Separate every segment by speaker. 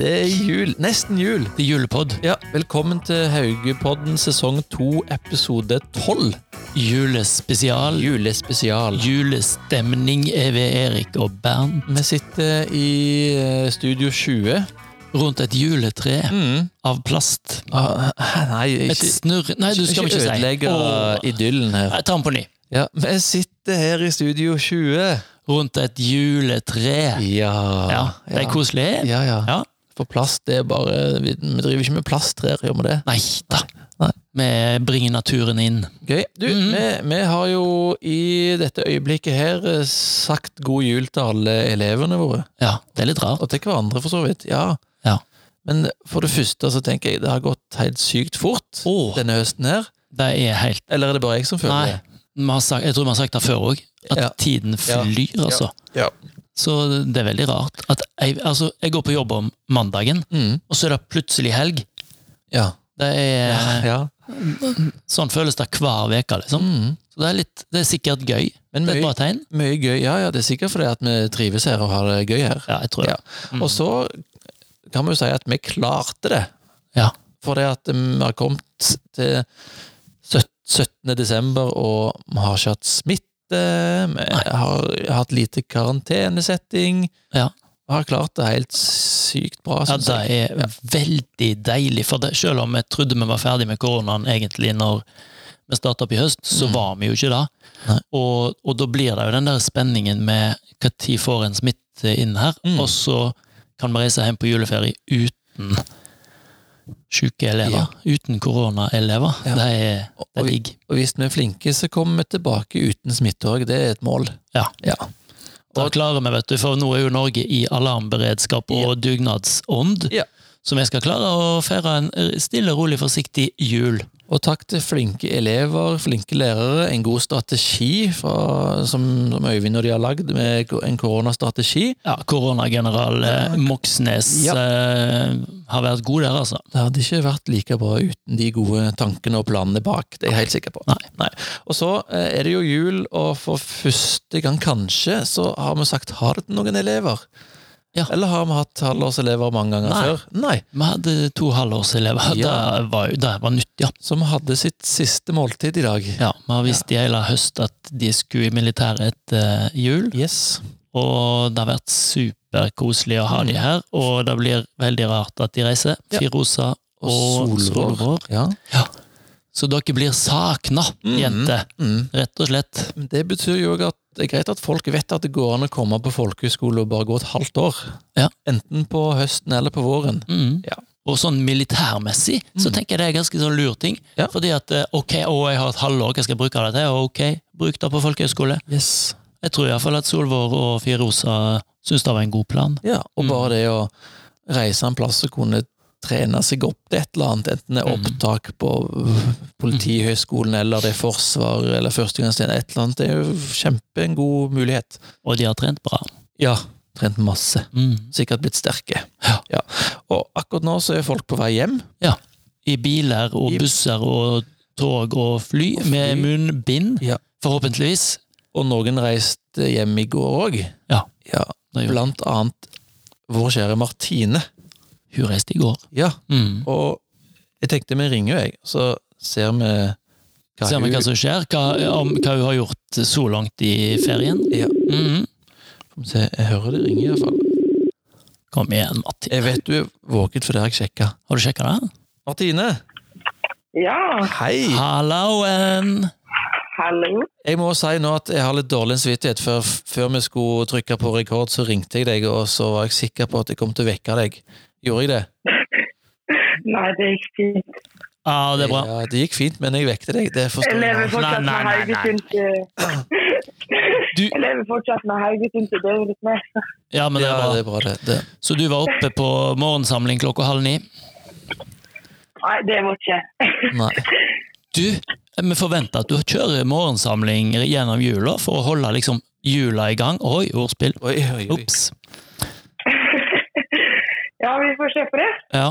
Speaker 1: jul, nesten jul.
Speaker 2: Det er julepod.
Speaker 1: Ja, Velkommen til Haugepodden sesong 2, episode 12.
Speaker 2: Julespesial.
Speaker 1: Julespesial.
Speaker 2: Julestemning er ved Erik og Bernt.
Speaker 1: Vi sitter i eh, Studio 20.
Speaker 2: Rundt et juletre
Speaker 1: Mm.
Speaker 2: av plast.
Speaker 1: Ah, nei,
Speaker 2: Et
Speaker 1: ikke,
Speaker 2: snurr... Nei, du skal ikke,
Speaker 1: ødelegge
Speaker 2: si. Åh.
Speaker 1: idyllen her.
Speaker 2: Jeg tar den på ny.
Speaker 1: Ja, vi sitter her i Studio 20.
Speaker 2: Rundt et juletre.
Speaker 1: Ja.
Speaker 2: Ja, det er koselig.
Speaker 1: Ja, ja.
Speaker 2: Ja.
Speaker 1: For plast, det er bare Vi, vi driver ikke med plasttrær, gjør vi det?
Speaker 2: Nei da.
Speaker 1: Nei.
Speaker 2: Vi bringer naturen inn. Mhm.
Speaker 1: Gøy. Du, vi, vi har jo i dette øyeblikket her eh, sagt god jul til alle elevene våre.
Speaker 2: Ja, det er litt rart.
Speaker 1: Og til hverandre, for så vidt. Ja.
Speaker 2: Ja.
Speaker 1: Men for det første så tenker jeg det har gått helt sykt fort
Speaker 2: Åh.
Speaker 1: denne høsten her.
Speaker 2: Det er helt
Speaker 1: Eller er det bare jeg som føler
Speaker 2: Nei.
Speaker 1: det?
Speaker 2: Vi har sagt, jeg tror vi har sagt det før òg, at
Speaker 1: Ja.
Speaker 2: tiden flyr, altså.
Speaker 1: Ja.
Speaker 2: Så det er veldig rart. At jeg, altså, jeg går på jobb om mandagen,
Speaker 1: Mm.
Speaker 2: og så er det plutselig helg.
Speaker 1: Ja.
Speaker 2: Det er,
Speaker 1: ja.
Speaker 2: Sånn føles det hver uke, liksom.
Speaker 1: Mm.
Speaker 2: Så det er, litt, det er sikkert gøy.
Speaker 1: Men
Speaker 2: Det er et
Speaker 1: mye,
Speaker 2: bra tegn.
Speaker 1: mye gøy. Ja, ja, det er sikkert fordi at vi trives her og har det gøy her.
Speaker 2: Ja, jeg tror det. Mm.
Speaker 1: Og så kan vi jo si at vi klarte det.
Speaker 2: Ja.
Speaker 1: For det at vi har kommet til søt- 17. desember, og vi har ikke hatt smitte, vi har hatt lite karantenesetting.
Speaker 2: Ja.
Speaker 1: Vi har klart det helt sykt bra.
Speaker 2: Ja,
Speaker 1: synes
Speaker 2: det
Speaker 1: jeg.
Speaker 2: er veldig deilig. For det, selv om vi trodde vi var ferdig med koronaen egentlig når vi starta opp i høst, så
Speaker 1: Mm.
Speaker 2: var vi jo ikke det.
Speaker 1: Nei.
Speaker 2: Og, og da blir det jo den der spenningen med når får en smitte inn her,
Speaker 1: Mm.
Speaker 2: og så kan vi reise hjem på juleferie uten syke elever. Uten koronaelever.
Speaker 1: Ja.
Speaker 2: Det er, det
Speaker 1: Og
Speaker 2: er
Speaker 1: vi-
Speaker 2: digg.
Speaker 1: Og hvis vi er flinke, så kommer vi tilbake uten smitte òg. Det er et mål.
Speaker 2: Ja.
Speaker 1: Ja.
Speaker 2: Da klarer vi, vet du, for nå er jo Norge i alarmberedskap og dugnadsånd.
Speaker 1: Ja.
Speaker 2: Så vi skal klare å feire en stille, rolig, forsiktig jul.
Speaker 1: Og takk til flinke elever, flinke lærere, en god strategi fra, som, som Øyvind og de har lagd, med ko- en koronastrategi.
Speaker 2: Ja, Koronageneral eh, Moxnes
Speaker 1: Ja.
Speaker 2: eh, har vært god der, altså.
Speaker 1: Det hadde ikke vært like bra uten de gode tankene og planene bak, det er jeg helt sikker på.
Speaker 2: Nei.
Speaker 1: Og så eh, er det jo jul, og for første gang kanskje, så har vi sagt ha det til noen elever.
Speaker 2: Ja.
Speaker 1: Eller har vi hatt halvårselever mange ganger
Speaker 2: Nei.
Speaker 1: før? Nei.
Speaker 2: Vi hadde to halvårselever.
Speaker 1: Ja.
Speaker 2: Det var, jo- det var nytt, ja.
Speaker 1: Som hadde sitt siste måltid i dag.
Speaker 2: ja. Vi har visst i hele høst at de skulle i militæret etter jul,
Speaker 1: Yes.
Speaker 2: og det har vært superkoselig å ha de her. Og det blir veldig rart at de reiser.
Speaker 1: Ja.
Speaker 2: Firosa og, og
Speaker 1: solvår.
Speaker 2: Solvår.
Speaker 1: Ja.
Speaker 2: Så dere blir sakna,
Speaker 1: Mhm.
Speaker 2: jenter.
Speaker 1: Mm.
Speaker 2: Rett og slett.
Speaker 1: Men Det betyr jo at det er greit at folk vet at det går an å komme på folkehøyskole og bare gå et halvt år.
Speaker 2: Ja.
Speaker 1: Enten på høsten eller på våren.
Speaker 2: Mhm.
Speaker 1: Ja.
Speaker 2: Og sånn militærmessig så
Speaker 1: Mhm.
Speaker 2: tenker jeg det er ganske sånn lur ting.
Speaker 1: Ja.
Speaker 2: Fordi at eh, ok, å, jeg har et halvår, hva skal jeg bruke det til? Ok, bruk det på folkehøyskole.
Speaker 1: Yes.
Speaker 2: Jeg tror iallfall at Solvår og Firosa syns det var en god plan.
Speaker 1: Ja, og
Speaker 2: Mm.
Speaker 1: bare det å reise en plass og kunne trene seg opp til et eller annet, enten det er
Speaker 2: Mm.
Speaker 1: opptak på øh, Politihøgskolen eller det er forsvar eller førstegangstjeneste, et eller annet, det er jo kjempe en god mulighet.
Speaker 2: Og de har trent bra.
Speaker 1: Ja, trent masse.
Speaker 2: Mhm.
Speaker 1: Sikkert blitt sterke.
Speaker 2: Ja.
Speaker 1: Og akkurat nå så er folk på vei hjem.
Speaker 2: I biler og
Speaker 1: I-
Speaker 2: busser og tog og fly,
Speaker 1: Og fly.
Speaker 2: med munnbind,
Speaker 1: Ja.
Speaker 2: forhåpentligvis.
Speaker 1: Og noen reiste hjem i går òg.
Speaker 2: Ja.
Speaker 1: ja.
Speaker 2: Det gjorde-
Speaker 1: Blant annet vår kjære Martine.
Speaker 2: Hun reiste i går.
Speaker 1: Ja.
Speaker 2: Mhm.
Speaker 1: Og jeg tenkte vi ringer, jeg, så ser vi hva
Speaker 2: Ser vi hva
Speaker 1: hun
Speaker 2: som skjer, hva, om, hva hun har gjort så langt i ferien.
Speaker 1: ja.
Speaker 2: Mhm.
Speaker 1: Får vi se. Jeg hører det ringer, i hvert fall.
Speaker 2: Kom igjen, Martin.
Speaker 1: Jeg vet du er våken, for det har jeg sjekka.
Speaker 2: Har du sjekka det?
Speaker 1: Martine!
Speaker 3: Ja,
Speaker 1: Hei!
Speaker 2: Halloen!
Speaker 3: hallo.
Speaker 1: Jeg må si nå at jeg har litt dårlig samvittighet. Før, før vi skulle trykke på rekord, så ringte jeg deg, og så var jeg sikker på at jeg kom til å vekke deg. Gjorde jeg det?
Speaker 3: Nei, det gikk fint.
Speaker 2: Ja, det er bra.
Speaker 1: Ja, det gikk fint, men jeg vekte deg. Det
Speaker 3: Jeg
Speaker 1: forstår
Speaker 3: lever
Speaker 1: jeg. nå.
Speaker 3: fortsatt
Speaker 2: Nei,
Speaker 3: med
Speaker 2: nei, nei,
Speaker 3: Haugesund
Speaker 2: Du-
Speaker 3: Jeg lever fortsatt med Haugesund til døgnet med.
Speaker 2: Ja, men det
Speaker 1: Ja,
Speaker 2: er
Speaker 1: det
Speaker 2: bra.
Speaker 1: er bra, det. det.
Speaker 2: Så du var oppe på morgensamling klokka halv ni.
Speaker 3: Nei, det var ikke.
Speaker 1: Nei.
Speaker 2: Du, vi forventer at du kjører morgensamling gjennom jula for å holde liksom jula i gang. Oi, ordspill.
Speaker 1: Oi, oi, oi.
Speaker 2: Ops.
Speaker 3: Ja, vi får se på det.
Speaker 2: Ja.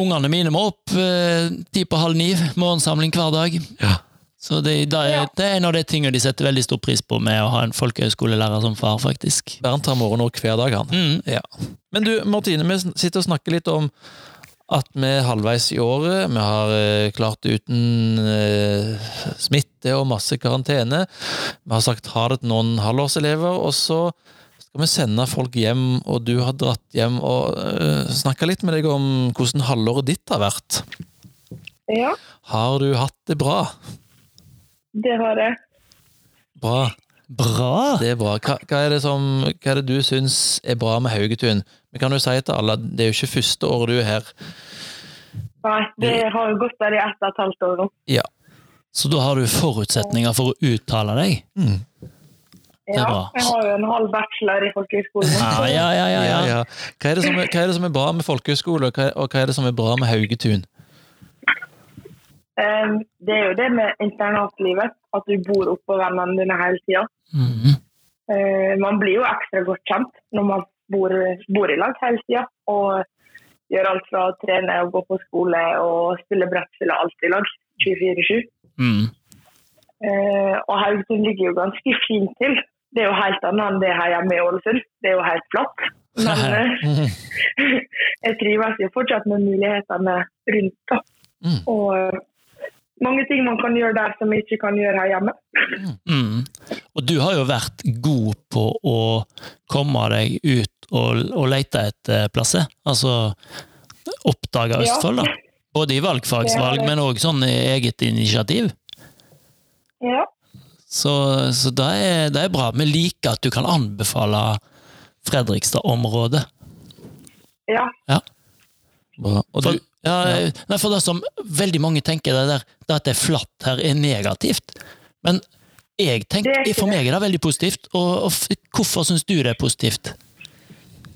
Speaker 2: Ungene mine må opp eh, ti på halv ni. Morgensamling hver dag.
Speaker 1: Ja.
Speaker 2: Så det, det, er, det er en av de tingene de setter veldig stor pris på med å ha en folkehøyskolelærer som far, faktisk.
Speaker 1: Bernt har morgenord hver dag, han.
Speaker 2: Mm.
Speaker 1: Men du, Martine, vi sn- sitter og snakker litt om at vi er halvveis i året. Vi har eh, klart det uten eh, smitte og masse karantene. Vi har sagt ha det til noen halvårselever, og så skal vi sende folk hjem, og du har dratt hjem og eh, snakka litt med deg om hvordan halvåret ditt har vært.
Speaker 3: Ja,
Speaker 1: Har du hatt det bra?
Speaker 3: det har jeg.
Speaker 1: Bra.
Speaker 2: Bra!
Speaker 1: Det er bra. Hva, hva, er det som, hva er det du syns er bra med Haugetun? Vi kan jo si til alle at det er jo ikke første året du er her.
Speaker 3: Nei, det har jo gått der i ett og et halvt år nå.
Speaker 1: Ja.
Speaker 2: Så da har du forutsetninger for å uttale deg?
Speaker 1: Mm.
Speaker 2: er
Speaker 3: Ja,
Speaker 2: bra.
Speaker 3: jeg har jo en halv bachelor i folkehøyskolen.
Speaker 2: Ja, ja, ja. ja,
Speaker 1: Ja,
Speaker 2: ja.
Speaker 1: ja. Hva, er det som er, hva er det som er bra med folkehøyskole, og hva, og hva er det som er bra med Haugetun?
Speaker 3: Em, Det er jo det med internatlivet, at du bor oppå vennene dine hele tida.
Speaker 2: Mhm.
Speaker 3: Eh, man blir jo ekstra godt kjent når man bor, bor i lag hele tida. Og gjør alt fra å trene og gå på skole og spille brettspill og alt i lag. 24-7.
Speaker 2: Mm.
Speaker 3: Eh, og Haugesund ligger jo ganske fint til. Det er jo helt annet enn det her hjemme i Ålesund. Det er jo helt flatt. Men eh, jeg trives jo fortsatt med mulighetene rundt. da.
Speaker 1: Mm.
Speaker 3: Og eh, mange ting man kan gjøre der som jeg ikke kan gjøre her hjemme.
Speaker 2: Mm. Og du har jo vært god på å komme deg ut og, og lete etter plasser. Altså oppdage
Speaker 3: Ja.
Speaker 2: Østfold, da. Både i valgfagsvalg,
Speaker 3: Det har jeg.
Speaker 2: men òg sånn i eget initiativ.
Speaker 3: Ja.
Speaker 2: Så, så det, er, det er bra. Vi liker at du kan anbefale Fredrikstad-området.
Speaker 3: ja.
Speaker 1: Bra. Og
Speaker 2: For,
Speaker 1: du,
Speaker 2: ja, Nei, for det som veldig mange tenker det der, det at det er flatt her er negativt. Men jeg tenker,
Speaker 3: Det er ikke
Speaker 2: for meg er det veldig positivt. Og, og f- hvorfor syns du det er positivt?
Speaker 3: Em,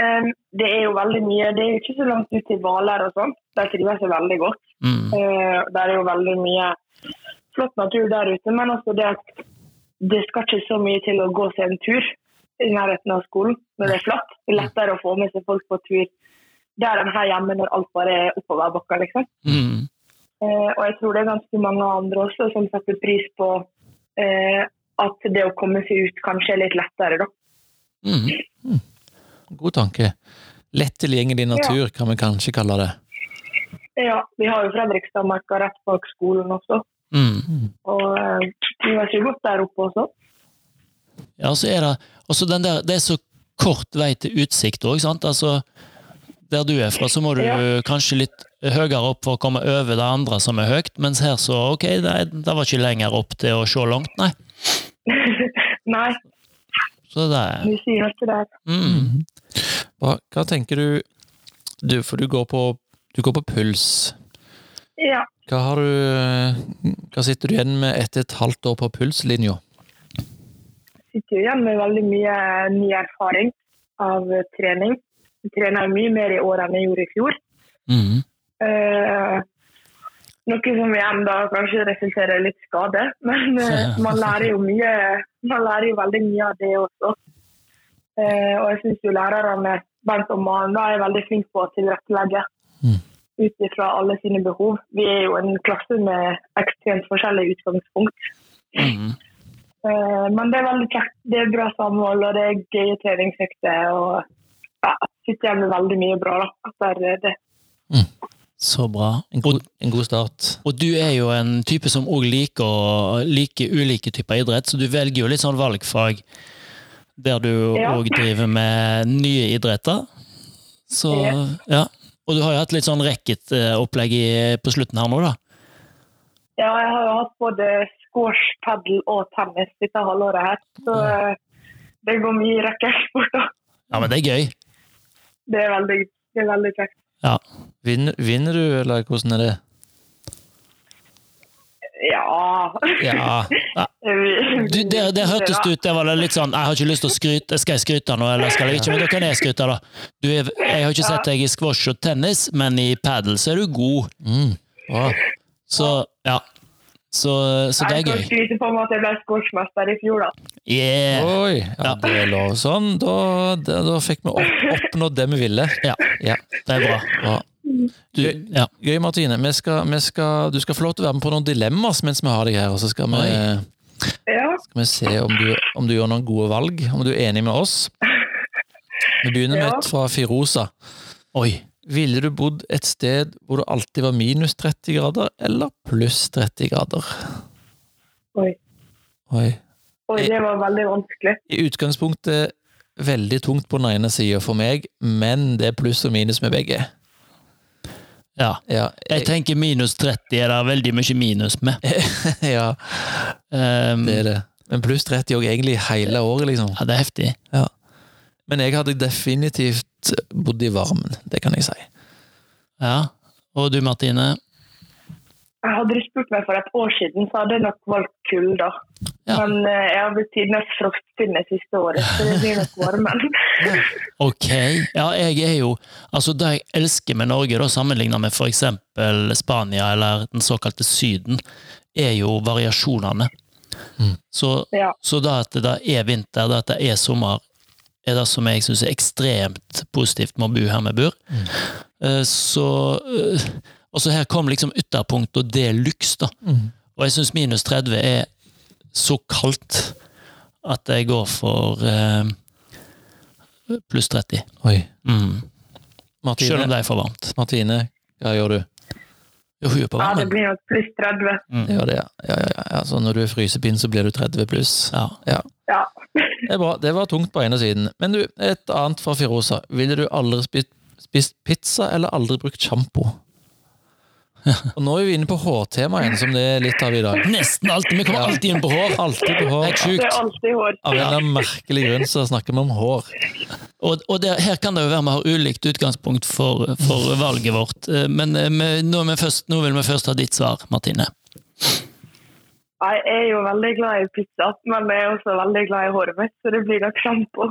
Speaker 3: Ehm, det er jo veldig mye. Det er jo ikke så langt ut til Hvaler og sånn. Der trives jeg veldig godt.
Speaker 2: Mm.
Speaker 3: Eh, Der er jo veldig mye flott natur der ute, men også det at det skal ikke så mye til å gå seg en tur i nærheten av skolen når det er flatt. Det er lettere å få med seg folk på tur der enn her hjemme når alt bare er oppover bakka, liksom.
Speaker 2: Mm.
Speaker 3: Eh, og jeg tror det er ganske mange andre også som setter pris på eh, at det å komme seg ut kanskje er litt lettere, da.
Speaker 2: Mm.
Speaker 1: god tanke. Lett tilgjengelig natur, kan vi kanskje kalle det.
Speaker 3: Ja, vi har jo Fredrikstadmarka rett bak skolen også,
Speaker 2: Mm.
Speaker 3: og eh, vi var ikke godt der oppe også.
Speaker 2: Ja, og så er det og så den der, Det er så kort vei til utsikt òg, sant? Altså, der du er fra, så må du
Speaker 3: Ja.
Speaker 2: kanskje litt høyere opp for å komme over det andre som er høyt, mens her så Ok, det, er- det var ikke lenger opp til å se langt, nei.
Speaker 3: Nei,
Speaker 2: Så det er
Speaker 3: du sier ikke det.
Speaker 2: mm.
Speaker 1: Hva, hva tenker du, du For du går på, du går på puls.
Speaker 3: Ja.
Speaker 1: Hva, har du, hva sitter du igjen med etter et halvt år på pulslinja?
Speaker 3: sitter jo igjen med veldig mye ny erfaring av trening. Jeg trener jo mye mer i år enn jeg gjorde i fjor.
Speaker 2: Mm.
Speaker 3: Eh, noe som igjen da kanskje resulterer i litt skade, men eh, man lærer jo mye. Man lærer jo veldig mye av det også. Eh, og jeg syns jo lærerne, Bent og Maren, da er veldig flinke på å tilrettelegge
Speaker 1: Mm.
Speaker 3: ut ifra alle sine behov. Vi er jo en klasse med ekstremt forskjellige utgangspunkt.
Speaker 2: Mm.
Speaker 3: Eh, Men det er veldig kjekt. Det er bra samhold, og det er gøye treningsøkter. Og ja, sitter igjen med veldig mye bra da, etter det.
Speaker 2: Så bra.
Speaker 1: En, god- en god start.
Speaker 2: Og du er jo en type som òg liker, å- liker ulike typer idrett, så du velger jo litt sånn valgfag der du
Speaker 3: Ja.
Speaker 2: òg driver med nye idretter. Så, ja. Og du har jo hatt litt sånn racketopplegg i- på slutten her nå, da.
Speaker 3: Ja, jeg har jo hatt både squash, padel og tennis dette halvåret her. Så eh, det går mye rekkeeksporter.
Speaker 2: Ja, men det er gøy.
Speaker 3: Det er veldig, det er veldig kjekt.
Speaker 2: Ja.
Speaker 1: Vinner, vinner du, eller hvordan er det?
Speaker 3: Ja
Speaker 1: Ja.
Speaker 2: Du, det, det hørtes det ut, det var litt sånn Jeg har ikke lyst til å skryte, skal jeg skryte nå, eller skal jeg ikke? Men da kan jeg skryte, da. Du, er- jeg har ikke sett deg i squash og tennis, men i padel så er du god.
Speaker 1: Mm. Bra.
Speaker 2: Så, ja. Så, så det
Speaker 3: Jeg
Speaker 2: er
Speaker 3: kan
Speaker 2: gøy.
Speaker 3: skryte på meg at jeg ble squashmester i fjor, da.
Speaker 2: Yeah!
Speaker 1: Oi, ja, det er lov. Sånn, da, da, da fikk vi opp, oppnådd det vi ville.
Speaker 2: Ja,
Speaker 1: Ja,
Speaker 2: det er bra.
Speaker 1: bra.
Speaker 2: Du,
Speaker 1: Gøy.
Speaker 2: ja.
Speaker 1: Gøy, Martine. Vi skal, vi skal, du skal få lov til å være med på noen dilemmas mens vi har deg her. og Så skal vi,
Speaker 2: Oi.
Speaker 3: Ja.
Speaker 1: skal vi se om du, om du gjør noen gode valg. Om du er enig med oss. Vi begynner med
Speaker 3: Ja.
Speaker 1: et fra Firosa.
Speaker 2: Oi.
Speaker 1: Ville du bodd et sted hvor det alltid var minus 30 grader, eller pluss 30 grader?
Speaker 3: Oi.
Speaker 1: Oi.
Speaker 3: Oi, det var veldig vanskelig.
Speaker 1: I utgangspunktet veldig tungt på den ene sida for meg, men det er pluss og minus med begge.
Speaker 2: Ja.
Speaker 1: Ja,
Speaker 2: Jeg tenker minus 30 er det veldig mye minus med.
Speaker 1: ja
Speaker 2: Um,
Speaker 1: det er det. Men pluss 30 òg egentlig hele året, liksom.
Speaker 2: ja, det er heftig.
Speaker 1: Men jeg hadde definitivt bodd i varmen, det kan jeg si.
Speaker 2: Ja. Og du, Martine?
Speaker 3: Jeg hadde du spurt meg for et år siden, så hadde jeg nok valgt kulda.
Speaker 2: Ja.
Speaker 3: Men eh, jeg har blitt tidenes frostpinne siste året, så det blir nok varmen.
Speaker 2: Ok. Ja, jeg er jo Altså, det jeg elsker med Norge, da, sammenligna med for eksempel Spania eller den såkalte Syden, er jo variasjonene.
Speaker 1: Mm.
Speaker 2: Så,
Speaker 3: Ja.
Speaker 2: så det at det da er vinter, det at det er sommer, er det som jeg syns er ekstremt positivt med å bo her vi bor. Eh, Så eh, Og så her kom liksom ytterpunkt og det luks, da. Og jeg syns minus 30 er så kaldt at jeg går for eh, pluss 30.
Speaker 1: Oi.
Speaker 2: Mm. Selv om
Speaker 1: Martine,
Speaker 2: det er for varmt.
Speaker 1: Martine hva gjør du?
Speaker 2: Jo, hun er på
Speaker 3: Ja, det
Speaker 2: varmen.
Speaker 3: blir nok pluss 30.
Speaker 1: Det gjør det, ja. ja, ja, ja. Altså, når du er frysepinn, så blir du 30 pluss.
Speaker 2: Ja.
Speaker 3: Ja.
Speaker 1: Det er bra. Det var tungt på ene siden. Men du, et annet fra Firosa. Ville du aldri spist, spist pizza, eller aldri brukt sjampo? Og nå er vi inne på hårtema igjen, som det er litt av i dag.
Speaker 2: Nesten alltid. Vi kommer
Speaker 1: Ja.
Speaker 2: alltid inn på hår.
Speaker 1: Alltid på hår.
Speaker 2: Helt
Speaker 3: Det
Speaker 2: sjukt.
Speaker 3: er alltid hår.
Speaker 1: Av en eller annen merkelig grunn så snakker vi om hår.
Speaker 2: Og, og det, her kan det jo være vi har ulikt utgangspunkt for, for valget vårt. Eh, Men eh, vi- nå, er vi først, nå vil vi først ha ditt svar, Martine.
Speaker 3: Nei, Jeg er jo veldig glad i pizza, men jeg er også veldig glad i håret mitt, så det blir nok sjampo.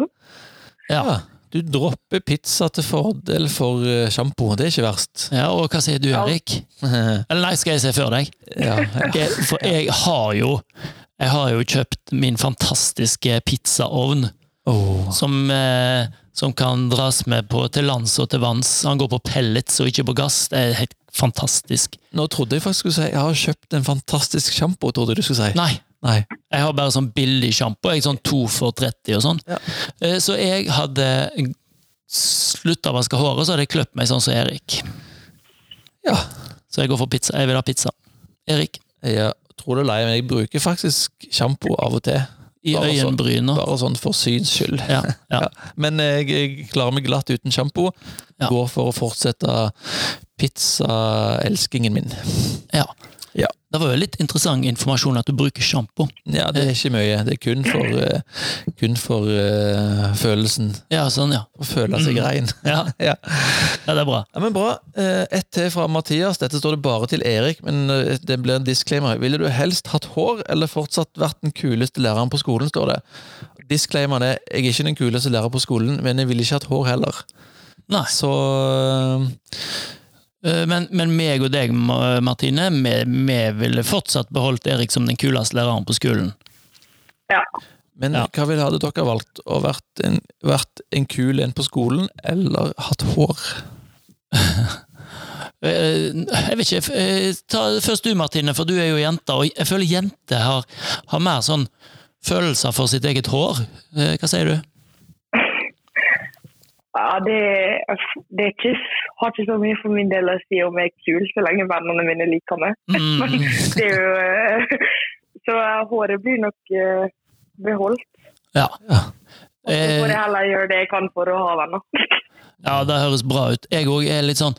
Speaker 2: Ja.
Speaker 1: Ja, du dropper pizza til fordel for eh, sjampo. Det er ikke verst.
Speaker 2: ja, Og hva sier du,
Speaker 3: Ja.
Speaker 2: Erik?
Speaker 1: ja,
Speaker 2: Eller nei, skal jeg se før deg?
Speaker 1: ja.
Speaker 2: Jeg, for jeg har jo jeg har jo kjøpt min fantastiske pizzaovn,
Speaker 1: Åh.
Speaker 2: som, eh, som kan dras med på til lands og til vanns. Han går på pellets og ikke på gass. Det er helt fantastisk.
Speaker 1: Nå trodde jeg faktisk du skulle si jeg har kjøpt en fantastisk sjampo. trodde jeg du skulle si.
Speaker 2: Nei,
Speaker 1: Nei.
Speaker 2: jeg har bare sånn billig sjampo. Jeg er sånn to for 30 og sånn.
Speaker 1: Ja.
Speaker 2: Eh, Så jeg hadde slutta å vaske håret, så hadde jeg kløpt meg sånn som Erik.
Speaker 1: Ja.
Speaker 2: Så jeg går for pizza. Jeg vil ha pizza. Erik.
Speaker 1: Jeg eh, tror du er lei, men jeg bruker faktisk sjampo av og til.
Speaker 2: I
Speaker 1: Bare sånn.
Speaker 2: øyenbryna.
Speaker 1: Bare sånn for syns skyld.
Speaker 2: Ja, ja.
Speaker 1: Men eh, jeg, jeg klarer meg glatt uten sjampo.
Speaker 2: Ja.
Speaker 1: Går for å fortsette pizzaelskingen min.
Speaker 2: ja.
Speaker 1: Ja.
Speaker 2: Det var jo litt interessant informasjon at du bruker sjampo.
Speaker 1: Ja, det er ikke mye. Det er kun for, eh, kun for eh, følelsen.
Speaker 2: Ja, sånn, ja.
Speaker 1: Å føle seg
Speaker 2: Mm.
Speaker 1: rein.
Speaker 2: Ja,
Speaker 1: Ja.
Speaker 2: ja det er bra.
Speaker 1: Ja, men Bra. Eh, Ett til fra Mathias. Dette står det bare til Erik, men eh, det blir en disclaimer. Ville du helst hatt hår eller fortsatt vært den kuleste læreren på skolen? står det. Disclaimeren er jeg er ikke den kuleste læreren på skolen, men jeg ville ikke hatt hår heller.
Speaker 2: Nei.
Speaker 1: Så
Speaker 2: Eh, Men, men meg og deg, Ma- Martine, vi, vi ville fortsatt beholdt Erik som den kuleste læreren på skolen.
Speaker 3: Ja.
Speaker 1: Men
Speaker 2: Ja.
Speaker 1: hva ville hadde dere valgt? Å vært en, vært en kul en på skolen, eller hatt hår?
Speaker 2: Eh, Jeg vet ikke, eh, ta først du Martine, for du er jo jente, og jeg føler jenter har, har mer sånn følelser for sitt eget hår. Eh, Hva sier du?
Speaker 3: Ja, det, det er ikke, har ikke så mye for min del å si om jeg er kul, så lenge vennene mine liker meg.
Speaker 2: Mm,
Speaker 3: Det er jo, eh, så eh, håret blir nok eh, beholdt.
Speaker 2: ja.
Speaker 3: Og så får
Speaker 2: Eh,
Speaker 3: jeg heller gjøre det jeg kan for å ha venner.
Speaker 2: Ja, det høres bra ut. Jeg òg er litt sånn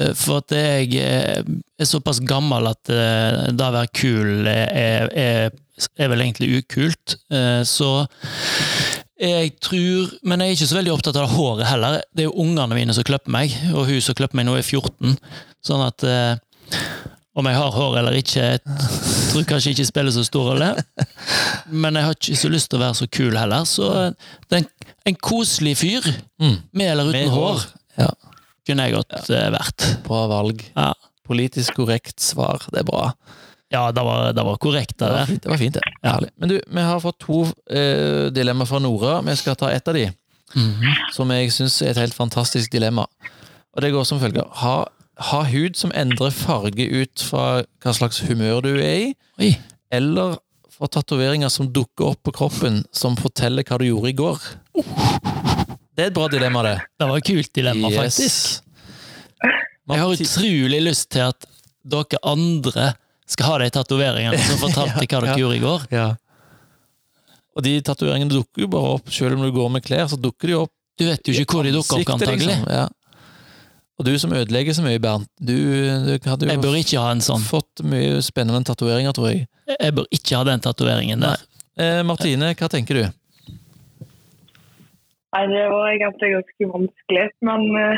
Speaker 2: eh, For at jeg eh, er såpass gammel at eh, det å være kul eh, er, er, er vel egentlig ukult. Eh, Så jeg tror Men jeg er ikke så veldig opptatt av det håret heller. Det er jo ungene mine som klipper meg, og hun som klipper meg nå er 14. Sånn at eh, om jeg har hår eller ikke, jeg tror kanskje ikke spiller så stor rolle. Men jeg har ikke så lyst til å være så kul heller, så eh, det er en, en koselig fyr.
Speaker 1: Mm.
Speaker 2: Med eller uten
Speaker 1: Med hår.
Speaker 2: hår
Speaker 1: Ja.
Speaker 2: kunne jeg godt eh, vært.
Speaker 1: Bra valg.
Speaker 2: Ja,
Speaker 1: Politisk korrekt svar. Det er bra.
Speaker 2: ja det, var, det var korrekt, det
Speaker 1: Det var
Speaker 2: der.
Speaker 1: fint, det. Var fint, det. Herlig. Men du, vi har fått to eh,
Speaker 2: Mhm.
Speaker 1: dilemmaer fra Nora. Vi skal ta ett av de, som jeg syns er et helt fantastisk dilemma. Og det går som følger. Ha, ha hud som endrer farge ut fra hva slags humør du er i,
Speaker 2: Oi.
Speaker 1: eller få tatoveringer som dukker opp på kroppen som forteller hva du gjorde i går. Det er et bra dilemma, det.
Speaker 2: Det var et kult dilemma,
Speaker 1: Yes.
Speaker 2: faktisk. Jeg har utrolig lyst til at dere andre skal ha de tatoveringene som fortalte hva dere
Speaker 1: Ja.
Speaker 2: gjorde i går.
Speaker 1: Ja. Og de tatoveringene dukker jo bare opp, selv om du går med klær, så dukker de opp.
Speaker 2: Du vet jo ikke hvor de dukker opp,
Speaker 1: Sikte,
Speaker 2: antagelig.
Speaker 1: liksom. Ja. Og du som ødelegger så mye, Bernt, du, du hadde
Speaker 2: Jeg
Speaker 1: jo
Speaker 2: bør ikke ha en sånn.
Speaker 1: fått mye spennende tatoveringer, tror jeg.
Speaker 2: Jeg bør ikke ha den tatoveringen der.
Speaker 1: Eh, Martine, hva tenker du?
Speaker 3: Nei, det var egentlig ganske vanskelig. Men eh,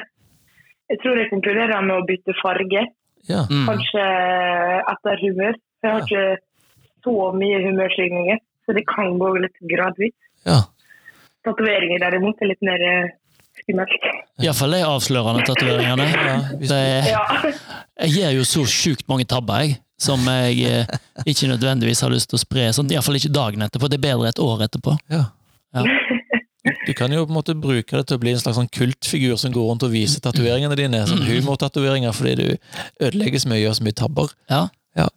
Speaker 3: jeg tror jeg konkluderer med å bytte farge.
Speaker 1: Ja.
Speaker 2: Mm.
Speaker 3: Kanskje etter humør. Jeg har ikke så mye humørsvingninger, så det kan gå litt gradvis.
Speaker 1: ja.
Speaker 3: Tatoveringer derimot er litt mer eh, skummelt.
Speaker 2: Iallfall de avslørende tatoveringene.
Speaker 1: hvis-
Speaker 2: Det-
Speaker 3: Ja.
Speaker 2: Jeg gjør jo så sjukt mange tabber, jeg. Som jeg eh, ikke nødvendigvis har lyst til å spre. Sånn, Iallfall ikke dagen etterpå. Det er bedre et år etterpå.
Speaker 1: ja.
Speaker 2: Ja.
Speaker 1: Du kan jo på en måte bruke det til å bli en slags sånn kultfigur som går rundt og viser tatoveringene dine, sånn humortatoveringer, fordi du ødelegger så mye og gjør så mye tabber.
Speaker 2: Ja.
Speaker 1: Ja.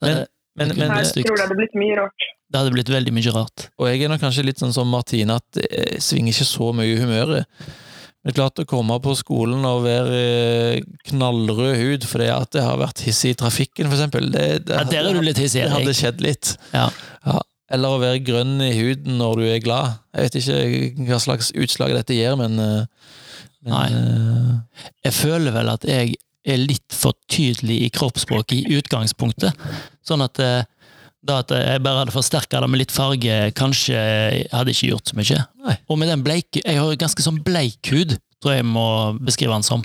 Speaker 2: Det,
Speaker 1: Men, men, eh,
Speaker 3: Nei,
Speaker 2: det er
Speaker 3: jeg
Speaker 2: stygt.
Speaker 3: tror det hadde blitt mye rart.
Speaker 2: det hadde blitt veldig mye rart.
Speaker 1: Og jeg er nok kanskje litt sånn som Martine, at jeg svinger ikke så mye i humøret. Men det er klart å komme på skolen og være eh, knallrød hud fordi at det har vært hissig i trafikken, for eksempel. Det, det,
Speaker 2: Ja, der er du litt hissig,
Speaker 1: det hadde
Speaker 2: Erik.
Speaker 1: skjedd litt.
Speaker 2: Ja.
Speaker 1: Ja. Eller å være grønn i huden når du er glad. Jeg vet ikke hva slags utslag dette gir, men, eh, men
Speaker 2: Nei.
Speaker 1: eh,
Speaker 2: Jeg føler vel at jeg er litt for tydelig i kroppsspråket i utgangspunktet. Sånn at eh, da at jeg bare hadde forsterka det med litt farge, kanskje hadde ikke gjort så mye.
Speaker 1: Nei.
Speaker 2: Og med den bleik, Jeg har jo ganske sånn bleik hud, tror jeg jeg må beskrive den som.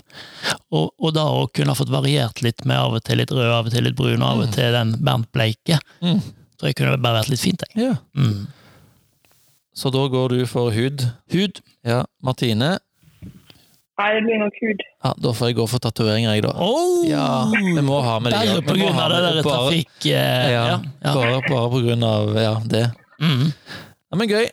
Speaker 2: Og, og da å kunne ha fått variert litt med av og til litt rød, av og til litt brun, og av og til den Bernt Bleike,
Speaker 1: Mm.
Speaker 2: tror jeg kunne bare vært litt fint. Jeg.
Speaker 1: ja.
Speaker 2: Mm.
Speaker 1: Så da går du for hud.
Speaker 2: Hud.
Speaker 1: Ja, Martine.
Speaker 3: Nei, det blir nok hud.
Speaker 1: Ja, da får jeg gå for tatoveringer, jeg, da.
Speaker 2: Oh!
Speaker 1: Ja, vi må ha med de.
Speaker 2: Bare på
Speaker 1: Vi må
Speaker 2: grunn
Speaker 1: ha
Speaker 2: av det
Speaker 1: med
Speaker 2: der
Speaker 1: bare-
Speaker 2: trafikk... Eh, ja.
Speaker 1: Ja,
Speaker 2: ja.
Speaker 1: Bare, bare på grunn av ja, det.
Speaker 2: Mm.
Speaker 1: Ja, men gøy.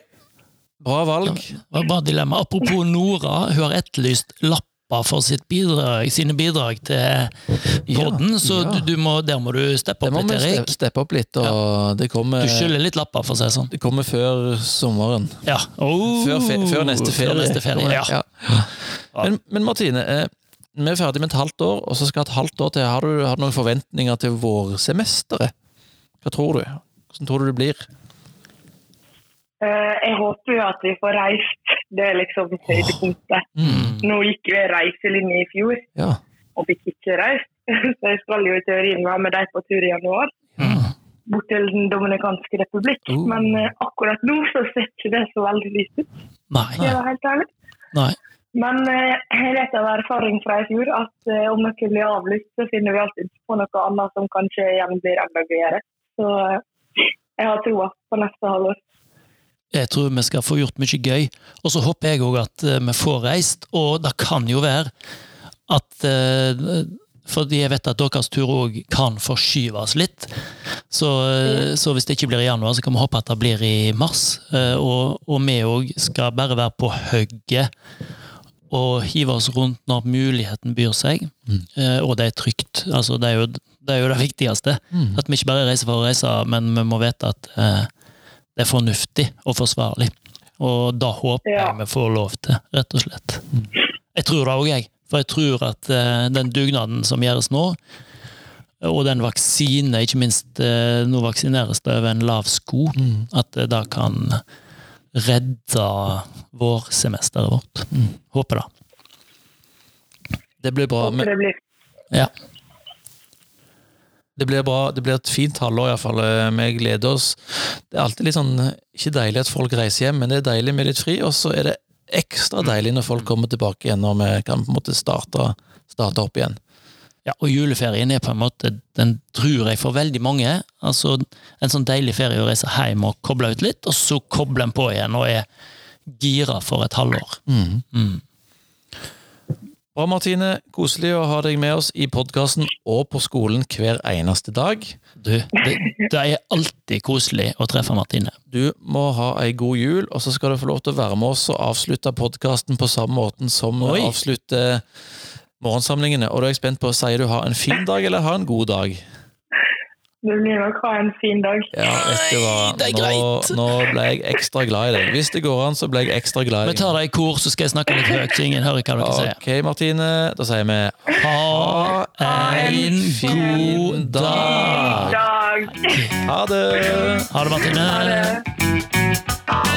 Speaker 1: Bra valg.
Speaker 2: Det var bare et dilemma. Apropos Nora, hun har etterlyst lapper for sitt bidrag, sine bidrag til podden, så
Speaker 1: ja.
Speaker 2: du, du må, der må du steppe
Speaker 1: Det må
Speaker 2: opp
Speaker 1: vi
Speaker 2: litt,
Speaker 1: ste-
Speaker 2: Erik.
Speaker 1: steppe opp litt, og det, kommer,
Speaker 2: Du skylder litt lapper, for å si det sånn.
Speaker 1: det kommer før sommeren.
Speaker 2: Ja. Oh,
Speaker 1: Før, fe før neste ferie.
Speaker 2: Før neste ferie,
Speaker 1: Kommer-
Speaker 2: ja. Ja.
Speaker 1: Men, men Martine, eh, vi er ferdig med et halvt år, og så skal et halvt år til. Har du, har du noen forventninger til vårsemesteret? Hva tror du? Hvordan tror du det blir?
Speaker 3: Eh, jeg håper jo at vi får reist. Det er liksom høydepunktet.
Speaker 1: Mm.
Speaker 2: Mm.
Speaker 3: Nå gikk jo jeg reiselinje i fjor,
Speaker 1: Ja.
Speaker 3: og fikk ikke reist. Så jeg skal jo i teorien være med deg på tur i januar,
Speaker 2: Mm.
Speaker 3: bort til Den dominikanske republikk.
Speaker 1: Oh.
Speaker 3: Men eh, akkurat nå så ser ikke det så veldig lyst ut, skal
Speaker 2: Nei.
Speaker 3: jeg være helt ærlig.
Speaker 2: Nei.
Speaker 3: Men eh, jeg vet av erfaring fra i fjor at eh, om noe blir avlyst, så finner vi alltid på noe annet som kanskje igjen blir enda gøyere. Så eh, jeg har troa på neste halvår.
Speaker 2: Jeg tror vi skal få gjort mye gøy. Og så håper jeg òg at eh, vi får reist, og det kan jo være at eh, Fordi jeg vet at deres tur òg kan forskyves litt. Så, eh, så hvis det ikke blir i januar, så kan vi håpe at det blir i mars. Eh, Og, og vi òg skal bare være på hugget og hive oss rundt når muligheten byr seg. Eh, Og det er trygt. Altså, det, er jo, det er jo det viktigste.
Speaker 1: Mm.
Speaker 2: At vi ikke bare reiser for å reise, men vi må vite at eh, det er fornuftig og forsvarlig. Og da håper
Speaker 3: Ja.
Speaker 2: jeg vi får lov til, rett og slett. Jeg tror det òg, jeg. For jeg tror at eh, den dugnaden som gjøres nå, og den vaksine, ikke minst eh, Nå vaksineres det over en lav sko.
Speaker 1: Mm.
Speaker 2: At det da kan redde vårsemesteret vårt. Håper det.
Speaker 1: Det blir bra. Men
Speaker 3: Håper det blir
Speaker 2: Ja.
Speaker 1: Det blir, bra, det blir et fint halvår, iallfall. Eh, Vi gleder oss. Det er alltid litt sånn Ikke deilig at folk reiser hjem, men det er deilig med litt fri. Og så er det ekstra deilig når folk kommer tilbake igjen, når vi kan på en måte starte, starte opp igjen.
Speaker 2: Ja, og juleferien er på en måte, den tror jeg for veldig mange, altså en sånn deilig ferie å reise hjem og koble ut litt, og så koble den på igjen og er gira for et halvår. Mm.
Speaker 1: Bra, Martine. Koselig å ha deg med oss i podkasten og på skolen hver eneste dag.
Speaker 2: Du, det, det er alltid koselig å treffe Martine.
Speaker 1: Du må ha ei god jul, og så skal du få lov til å være med oss og avslutte podkasten på samme måten som vi
Speaker 2: Oi.
Speaker 1: avslutter morgensamlingene. Og da er jeg spent på, sier du ha en fin dag eller ha en god dag?
Speaker 3: Det blir nok ha en fin dag.
Speaker 1: Ja, vet du hva?
Speaker 2: Nei, det er
Speaker 1: Nå,
Speaker 2: greit.
Speaker 1: nå ble jeg ekstra glad i deg. Hvis det går an, så ble jeg ekstra glad i
Speaker 2: Vi
Speaker 1: deg.
Speaker 2: tar det i kor, så skal jeg snakke litt høyt, så ingen hører hva dere sier.
Speaker 1: Ok, Martine. Da sier vi
Speaker 2: Ha en god dag!
Speaker 3: Dag.
Speaker 1: ha det!
Speaker 2: Ha det, Martine.
Speaker 3: Ha det.